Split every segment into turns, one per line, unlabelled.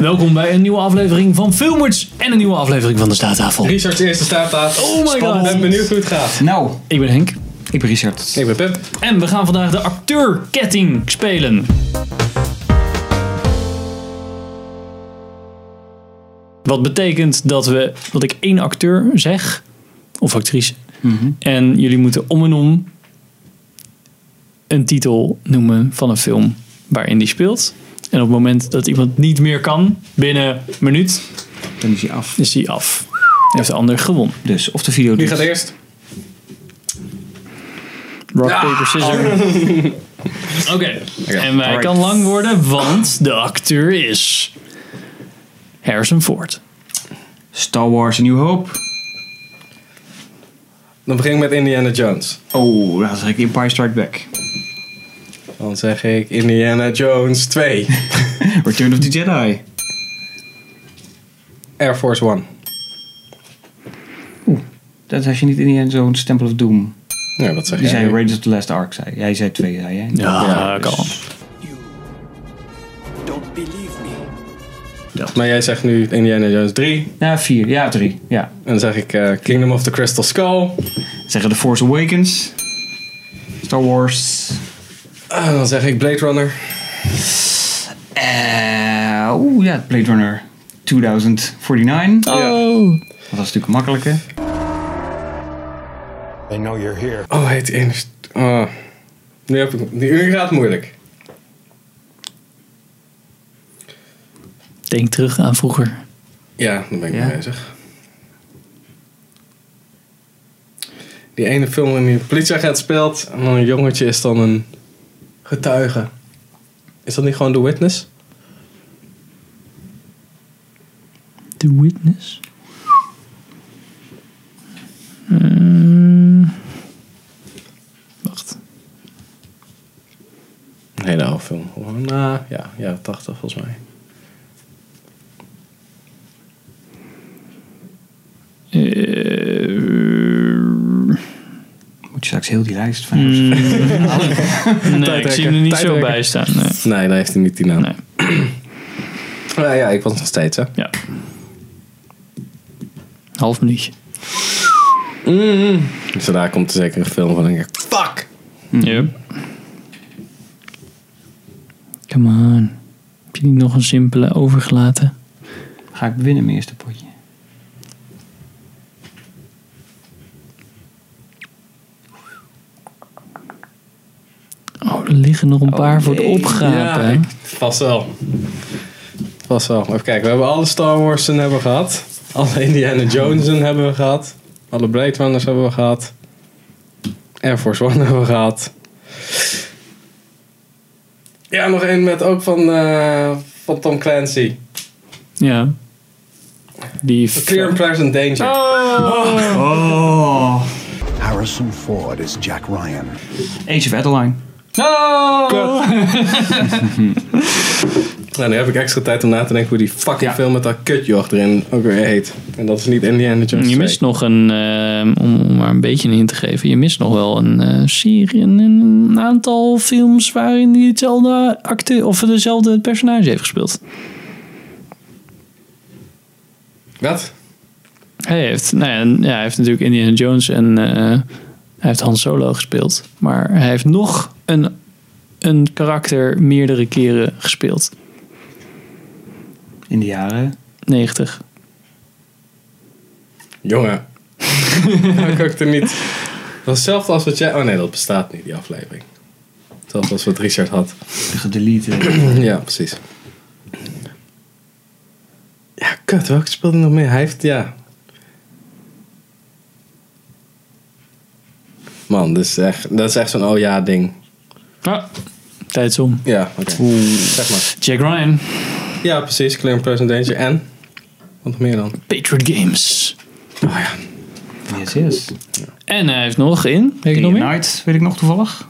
Welkom bij een nieuwe aflevering van Filmers en een nieuwe aflevering van de Staattafel.
Richard's eerste staartplaats.
Oh my
Ik ben
god.
benieuwd hoe het gaat.
Nou,
Ik ben Henk
ik ben Richard.
Ik ben Pep.
en we gaan vandaag de acteurketting spelen. Wat betekent dat we, dat ik één acteur zeg, of actrice, Mhm. en jullie moeten om en om een titel noemen van een film waarin die speelt. En op het moment dat iemand niet meer kan, binnen een minuut,
Dan is hij af.
is die af. Heeft de ander gewonnen.
Dus, of de video
Wie
doet.
gaat eerst?
Rock, paper, scissors. Ah. Oké. En wij
alright.
kan lang worden, want de acteur is Harrison Ford.
Star Wars A New Hope.
Dan begin ik met Indiana Jones.
Oh, dan zeg ik Empire Strike Back.
Dan zeg ik Indiana Jones 2.
Return of the Jedi.
Air Force One.
Dat was je niet Indiana Jones Temple of Doom.
Ja, wat zeg
Die zei
jij?
Raiders of the Last Ark, zei Jij zei twee, zei jij?
Ja, eh, dus-
Ja,
kan.
You don't believe me.
Maar jij zegt nu Indiana Jones 3.
Nou, vier. Ja, drie. Ja.
En dan zeg ik eh, Kingdom of the Crystal Skull.
Zeggen The Force Awakens. Star Wars.
En Ah, dan zeg ik Blade Runner.
Eh, Oeh, ja, Blade Runner 2049.
Oh.
Dat was natuurlijk makkelijker.
They know you're here.
Oh, heet in. Oh. Nu, heb ik, nu nu gaat het moeilijk.
Denk terug aan vroeger.
Ja, daar ben ik
Ja.
mee bezig. Die ene film waarin die politieagent speelt en dan een jongetje is dan een getuige. Is dat niet gewoon The Witness?
The Witness. Hmm. wacht.
Een hele oude film. Gewoon, nou, ja, ja, 80 volgens mij.
Moet je straks heel die lijst van
nee, ik zie hem er niet zo bij staan. Nee.
Nee, dan heeft hij niet die naam.
Nee.
Nou ja, ik was nog steeds, hè.
Ja. Half minuutje.
Dus daar komt er zeker een film van en denk ik, fuck!
Yep. Come on. Heb je niet nog een simpele overgelaten?
Ga ik winnen mijn eerste potje.
Oh, er liggen nog een paar voor het
nee.
opgapen.
Ja, ik- vast wel. Vast wel. Even kijken, we hebben alle Star Wars'en hebben we gehad. Alle Indiana Jones'en hebben we gehad. Alle Blade Runners hebben we gehad. Air Force One hebben we gehad. Ja, nog één met ook van, eh, van Tom Clancy.
Ja. Die
A Clear and Present Danger.
Oh.
Harrison Ford is Jack Ryan.
Age of Adeline.
Nou, nu heb ik extra tijd om na te denken hoe die fucking
Ja.
film met dat kutjoch erin ook weer heet. En dat is niet Indiana Jones
Je
2.
mist nog een, eh, om, om maar een beetje een hint te geven, je mist nog wel een eh, serie, een, een aantal films waarin hij hetzelfde acte of dezelfde personage heeft gespeeld.
Wat?
Hij heeft, nou ja, en- ja, hij heeft natuurlijk Indiana Jones en eh, hij heeft Han Solo gespeeld. Maar hij heeft nog een, een karakter meerdere keren gespeeld.
In de jaren.
90.
Jongen. Nou, ik ook er niet. Dat was hetzelfde als wat jij. Oh nee, dat bestaat niet, die aflevering. Hetzelfde als wat Richard had.
Gedelete.
ja, precies. Ja, kut, welke speelde hij nog meer? Hij heeft, ja. Man, dat is echt, dat is echt zo'n oh ja ding.
Ja. Tijd om.
Ja, oké. Zeg maar.
Jack Ryan,
Ja, precies. Clear and Present Danger. En? Wat nog meer dan?
Patriot Games.
Yes, yes.
En hij heeft nog in, weet je nog
Day
meer?
Night, weet ik nog toevallig.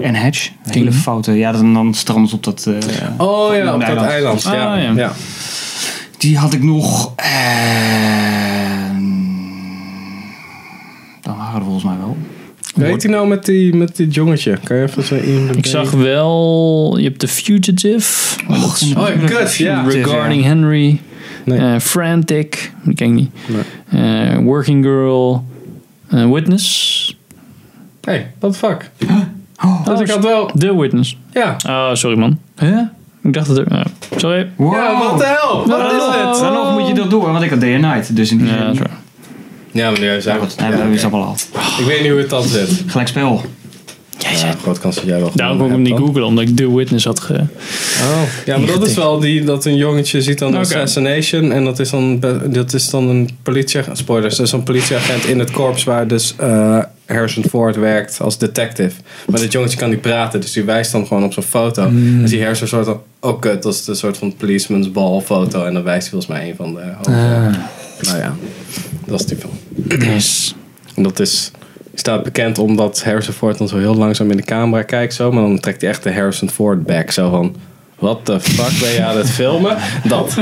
En Hedge. Hele
Mhm.
foute. Ja, dan, dan stranden ze op dat... eh,
Oh ja, op dat
Eiland.
eiland. Ja,
Ah, ja.
ja.
Die had ik nog... eh, dan waren er volgens mij wel.
Hoe heet hij nou met die, met dit jongetje? Kan je even zo in de
Ik zag wel, je hebt The Fugitive. Maar dat is-
Oh, kut, ja.
Regarding Henry.
Nee.
eh, Frantic. Die ken ik niet.
Nee.
Eh, Working Girl. eh, Witness.
Hey, what the fuck?
Oh,
Dus ik had wel...
The Witness.
Ja.
Oh, sorry man. Huh? Ik dacht dat er... nou, sorry.
Wow.
Ja, wat de hel? Wat is
Oh.
dit?
Dan nog moet je dat door, want ik had Day and Night. Dus in die
Ja,
zin-
sorry.
Ja, maar nu zijn
Ja,
we...
goed, nee, we
Ja,
hebben
oké.
ze allemaal al.
Ik weet niet hoe het dat zit.
Gelijk spel.
Ja, groot kans dat jij wel
Daarom kon ik hem
gewonnen
niet
hebt
googlen, omdat ik The Witness had ge...
dan. Oh. Ja, maar dat is wel die, dat een jongetje ziet dan
Oké.
een assassination en dat is dan, be- dat is dan een politieagent, spoilers, dat is een politieagent in het korps waar dus eh, Harrison Ford werkt als detective. Maar dat jongetje kan niet praten, dus die wijst dan gewoon op zijn foto. En die Harrison soort van, oh kut, dat is de soort van policeman's ball foto en dan wijst hij volgens mij een van de hoofden. Nou ja, dat is die film.
Yes.
En dat is, staat bekend omdat Harrison Ford dan zo heel langzaam in de camera kijkt. Zo, maar dan trekt hij echt de Harrison Ford back. Zo van, wat de fuck ben je aan het filmen? Dat.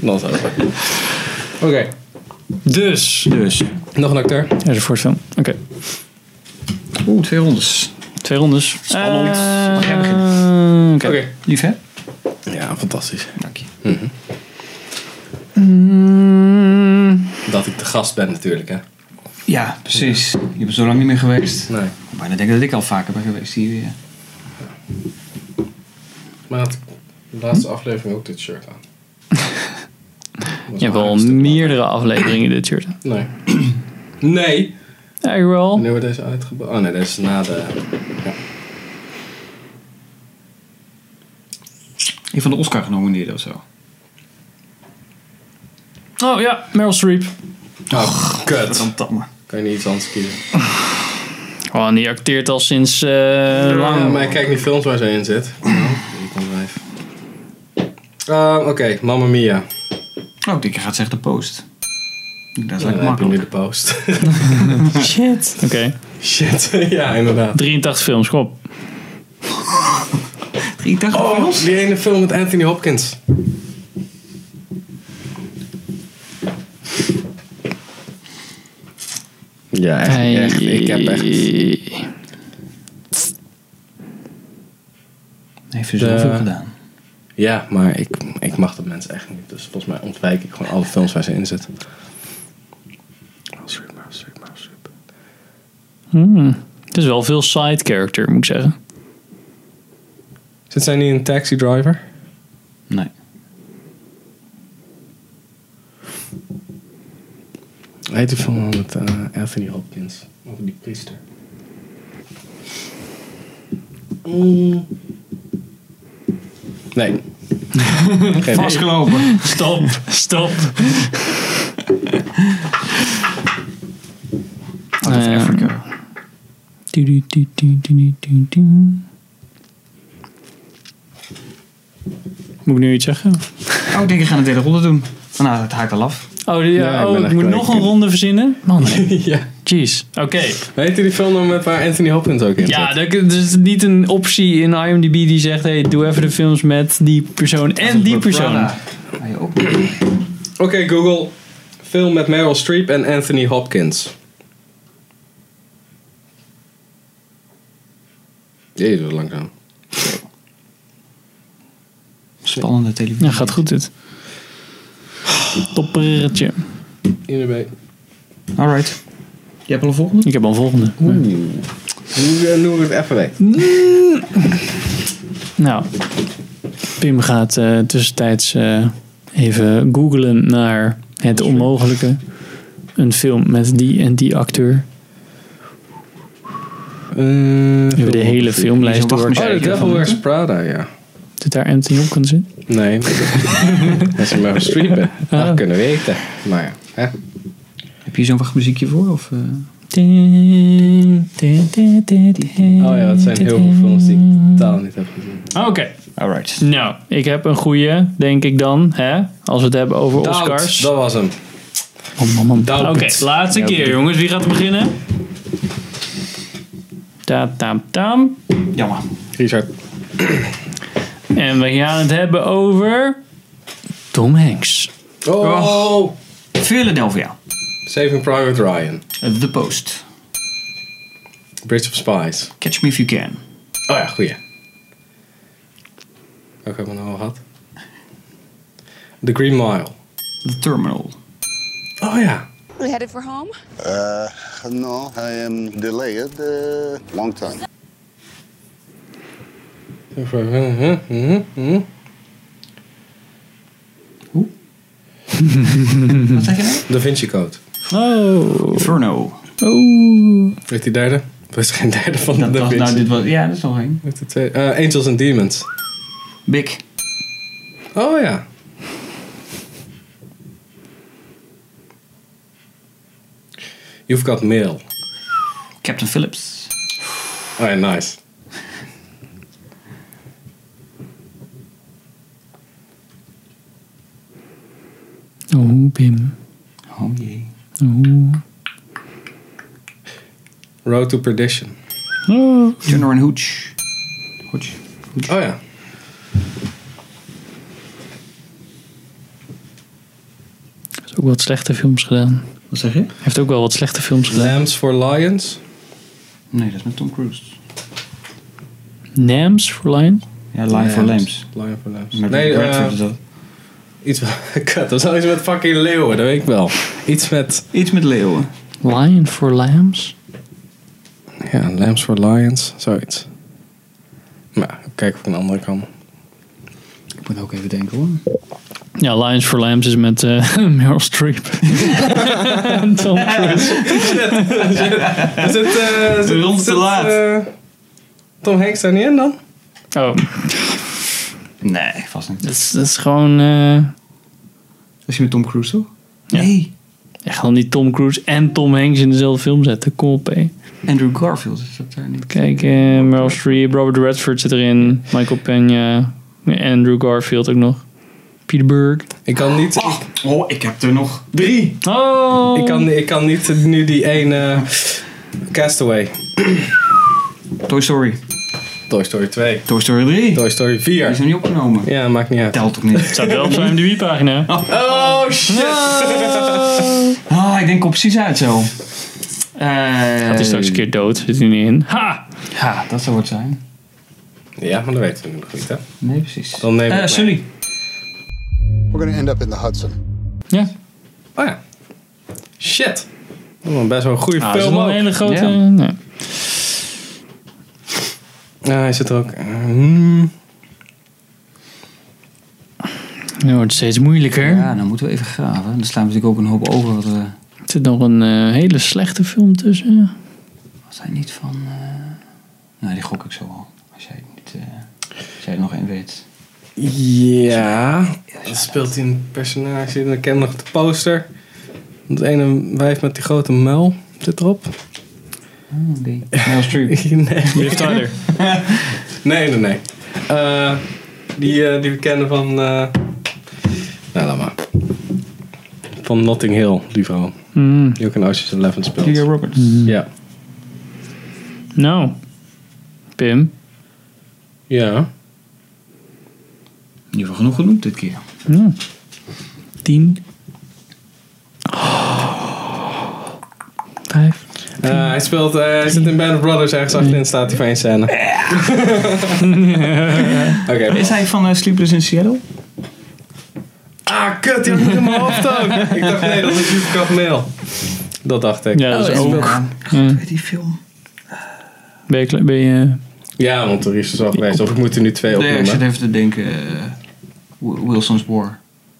dat is ook. Oké,
Dus.
Dus.
nog een acteur.
Er is een voorstel. Oké.
Oeh, twee rondes.
Twee rondes.
Spannend.
Eh,
Mag jij
Oké.
Oké.
Lief, hè?
Ja, fantastisch.
Dank je.
Mm,
Dat ik de gast ben natuurlijk, hè.
Ja, precies. Je bent zo lang niet meer geweest.
Nee.
Ik bijna denk dat ik al vaker ben geweest hier weer.
Maar had de laatste aflevering ook dit shirt aan.
Je hebt al meerdere afleveringen dit shirt.
Nee. Nee.
Eigenlijk wel.
Wanneer wordt deze uitgebracht? Oh nee, deze is na de...
Een van de Oscar genomineerden of zo.
Oh ja, Meryl Streep.
Oh, kut.
Verdamme.
Kan je niet iets anders kiezen?
Oh, en die acteert al sinds eh, lang.
maar ik kijk niet films waar ze in zit. Ehm, Oké, Mamma Mia.
Oh, die gaat zeggen de post. Dat is
Dan
lekker
heb je nu
makkelijk.
de post.
Shit. Oké,
Shit, ja inderdaad.
83 films, kom op.
Drie dagen
Oh,
films?
die ene film met Anthony Hopkins. Ja, echt, echt. Ik heb echt...
Heeft er zoveel
De-
gedaan.
Ja, maar ik, ik mag dat mensen echt niet. Dus volgens mij ontwijk ik gewoon alle films waar ze in zitten. Meryl Streep, Meryl Streep, Meryl Streep.
Hmm. Het is wel veel side character, moet ik zeggen.
Zit zij niet in Taxi Driver?
Nee.
Heet die film met eh, Anthony Hopkins? Over die priester. Mm. Nee. Geen idee.
Vastgelopen. Oh,
Stop, stop.
Out of
Eh,
Africa.
Du- du- du- du- du- du- du- du. Moet ik nu iets zeggen?
Oh, ik denk ik ga een derde ronde doen. Nou, het haakt al af.
Oh, die-
Ja, ik ben
oh, ik,
echt
moet
kwijt.
nog een ronde verzinnen? Man, nee.
ja.
jeez. Oké.
Heet die film dan met waar Anthony Hopkins ook in
Ja,
zit?
dat dat is niet een optie in IMDb die zegt... hey, doe even de films met die persoon en die persoon.
Prada. Ah, je ook. Oké,
Oké, Google. Film met Meryl Streep en Anthony Hopkins. Jezus, wat langzaam.
Spannende televisie.
Ja, gaat goed dit. Toppertje.
Hierbij.
Alright. Je hebt al een volgende?
Ik heb al een volgende.
Nu eh, noem ik het even weg.
Nou, Pim gaat eh, tussentijds eh, even googlen naar het onmogelijke. Een film met die en die acteur. We hebben de hele filmlijst
Hier is een
Oh, The
doorgekeken.
Oh, Devil Wears Prada, ja.
Zit daar Anthony Hopkins in?
Nee. Als je maar streamen. Dat kunnen weten. Maar ja. Hè?
Heb je zo'n wacht muziekje voor? Of, eh?
Oh ja, het zijn heel veel films die ik totaal niet heb gezien.
Oké,
Alright.
nou, ik heb een goede, denk ik dan, hè? Als we het hebben over Oscars.
dat was hem.
Oh, man, man. Oké,
Doubt.
laatste keer, jongens. Wie gaat er beginnen? Tam, tam, tam.
Jammer.
Richard.
En we gaan het hebben over... Tom Hanks.
Oh!
Philadelphia.
Saving Private Ryan.
The Post.
Bridge of Spies.
Catch Me If You Can.
Oh ja, goeie. Welke hebben we nou al gehad? The Green Mile.
The Terminal.
Oh ja.
We headed for home?
Uh, no, I am delayed uh, long time.
Wat zeg je nou?
Da Vinci Code.
Oh.
Inferno.
oh.
Weet die derde? Dat is geen derde van de
Dat
Da
was,
Vinci.
nou, dit was, ja, dat is nog één.
Weet de tweede- eh, Angels and Demons.
Big.
Oh ja. You've got mail.
Captain Phillips.
Oh ja, nice.
Oh, Pim.
Oh jee.
Oh.
Road to Perdition.
Oh.
Turner and Hooch. Hooch.
Oh ja.
Heeft ook wat slechte films gedaan.
Wat zeg je?
Heeft ook wel wat slechte films gedaan.
Lambs for Lions.
Nee, dat is met Tom Cruise.
Nams for Lion.
Ja, Lion for Lambs.
Lion for Lambs.
Met
Nee,
nee, Bradford
eh,
is dat.
iets met... Kut, dat zou iets met fucking leeuwen, dat weet ik wel. Iets met...
Iets met leeuwen.
Lion for Lambs.
Ja, Lambs for Lions. Zoiets. Maar kijk of ik een andere kan.
Ik moet ook even denken hoor.
Ja, Lions for Lambs is met eh, Meryl Streep. En Tom Cruise.
Is het... eh, is
We ronden
is
te
het,
laat.
eh, Tom Hanks daar niet in dan?
Oh,
Nee, vast niet.
dat is, dat is gewoon... eh,
Is je met Tom Cruise toch?
Ja.
Nee.
echt al niet Tom Cruise en Tom Hanks in dezelfde film zetten. Kom op, hé.
Andrew Garfield is dat daar niet.
Kijk, eh, Meryl Streep, Robert Redford zit erin. Michael Peña. Andrew Garfield ook nog. Peter Berg.
Ik kan niet...
Oh, ik heb er nog.
Drie.
Oh!
Ik kan, ik kan niet nu die ene... eh, Castaway.
Toy Story.
Toy Story 2.
Toy Story 3. Die
Toy Story 4.
is nog niet opgenomen.
Ja, maakt niet uit.
Telt toch niet?
Staat wel op zijn IMDb-pagina.
Oh shit!
Ah, ik denk op precies uit zo. Eh,
Gaat hij straks een keer dood? Zit hij niet in? Ha!
Ja, dat zou het zijn.
Ja, maar dat weten we nu nog niet, hè?
Nee, precies.
Dan neem ik
Eh,
mij.
Sully.
We're going to end up in the Hudson.
Ja.
Oh ja. Shit. Dat was Oh, best wel een goede
Ah, dat is
film
wel een
ook.
hele grote...
Ja.
nee.
Ja, hij zit er ook. eh, hmm.
Het wordt steeds moeilijker.
Ja, dan moeten we even graven. Dan slaan we natuurlijk ook een hoop over. Wat, we-
Er zit nog een eh, hele slechte film tussen.
wat zijn niet van... eh, Nou, die gok ik zo al. Als jij, het niet, eh, als jij er nog één weet.
Ja. Dan speelt hij een personage. Dan ken ik nog de poster. Dat ene wijf met die grote muil zit erop.
Oh, die. Meryl Streep.
nee.
Liv Tyler.
Nee, nee, nee. Eh, die, eh, die we kennen van... eh, Nou, laat maar. Van Notting Hill, die vrouw.
Mm,
Die ook in Ocean's Eleven
Julia
speelt.
Roberts.
Mhm.
Ja.
Nou. Pim.
Ja.
In ieder geval genoeg genoemd dit keer.
Nou. Tien. Vijf.
Eh, hij speelt... eh, hij zit in Band of Brothers ergens achterin. Staat hij voor één scène. Oké.
Is hij van eh, Sleepless in Seattle?
Ah, kut. Die had ik in mijn hoofd ook. Ik dacht, nee, dat is You've Got Mail. Dat dacht ik.
Ja, dat Oh, is ook.
Goed, weet die film.
Ben je... kla- Ben je
Ja, want er is dus al geweest. Of ik moet er nu twee
Nee, ik zit
opnemen.
even te denken. eh, Wi- Wilson's War.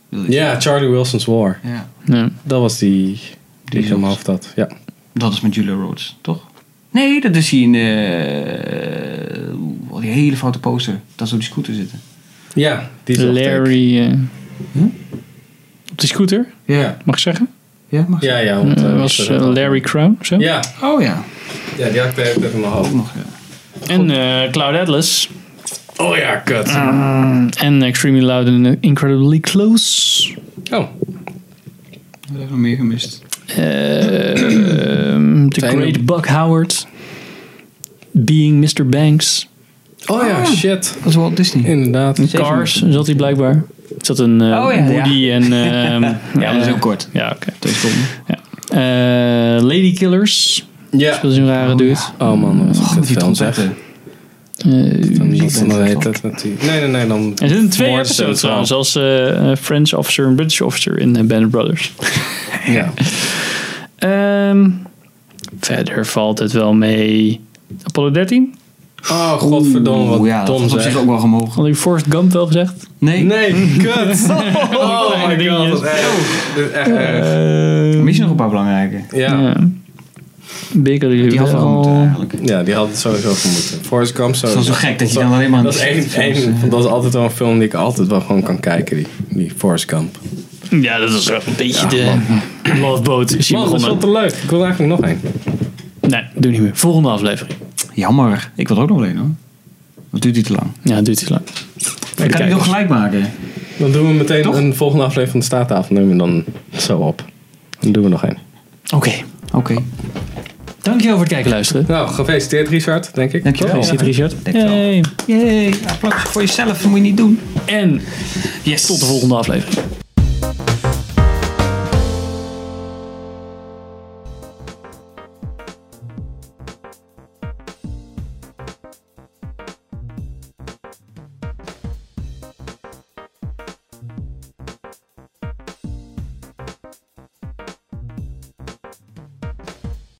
Wil je-
Ja, Charlie Wilson's War.
ja.
nee.
Dat was die... Die ik in mijn
was.
hoofd had. Ja.
Dat is met Julia Rhodes, toch? Nee, dat is hier in eh, oh, die hele foute poster. Dat ze op die scooter zitten.
Ja, die zocht ik.
Larry... eh,
Hm?
Op de scooter,
Ja.
mag ik zeggen?
Ja, mag ze-
Ja, ja. Want,
Eh,
eh,
was
dat-
eh, Larry Crown. Zo.
Ja,
Oh ja,
ja, die had ik de hele tijd in mijn
ook
hoofd.
nog. Ja.
En eh, Cloud Atlas.
Oh ja, kut.
Ah.
En Extremely Loud and Incredibly Close.
Oh,
We hebben nog meer gemist.
Ehm, The
Fijn.
Great Buck Howard. Being Mr. Banks.
oh ja,
Ah.
shit.
Dat is Walt Disney.
Inderdaad.
Zeven
Cars zat hij blijkbaar. Zat een eh,
Oh ja, ja.
Woody en... ehm,
Ja, dat is
eh,
heel kort.
Ja, oké.
Twee seconden.
Eh, Lady Killers.
Ja.
Speelde zo'n rare dude.
Oh man, dat is
Och,
echt
die
veel zeg.
trompetten.
Eh,
Dan niet
Zat
van de
in het
heet het natuurlijk. Nee, nee, nee. Dan
er zitten twee
moorden ze
episodes
het wel.
trouwens, als eh, eh, French officer en British officer in eh, Band of Brothers.
Ja.
Ehm, verder valt het wel mee. Apollo 13?
Oh, godverdomme, wat
Oeh, ja, dat
dom
was op zich
zeg.
ook wel gemogen.
Had ik Forrest Gump wel gezegd?
Nee,
Nee, kut. Oh my god,
dingetjes.
dat is echt- dit is echt erg.
misschien nog een paar belangrijke.
Ja.
Bigger
Die had wel moeten eh, eigenlijk.
Ja, die had het sowieso voor moeten. Forrest Gump
Het is
sowieso.
wel zo gek dat je dan alleen maar...
Dat is, één, één,
eh.
want dat is altijd wel een film die ik altijd wel gewoon kan kijken, die, die Forrest Gump.
Ja, dat is wel een beetje de Love Boat. Is hier
Man, dat is wel
begonnen.
te leuk. Ik wil eigenlijk nog één.
Nee, doe niet meer. Volgende aflevering.
Jammer. Ik wil er ook nog wel een hoor. Wat duurt die te lang?
Ja, duurt te lang.
Ik kan die
kijkers.
toch gelijk maken.
Dan doen we meteen
Toch?
een volgende aflevering van de Staattafel. Neem hem dan zo op. Dan doen we nog één.
Oké.
Oké.
Dankjewel voor het kijken en luisteren.
Nou, gefeliciteerd Richard, denk ik.
Dankjewel.
Toch?
Zit Richard.
Dank je wel.
Yay.
Jee, applaus voor jezelf. Dat moet je niet doen.
En
Yes.
tot de volgende aflevering.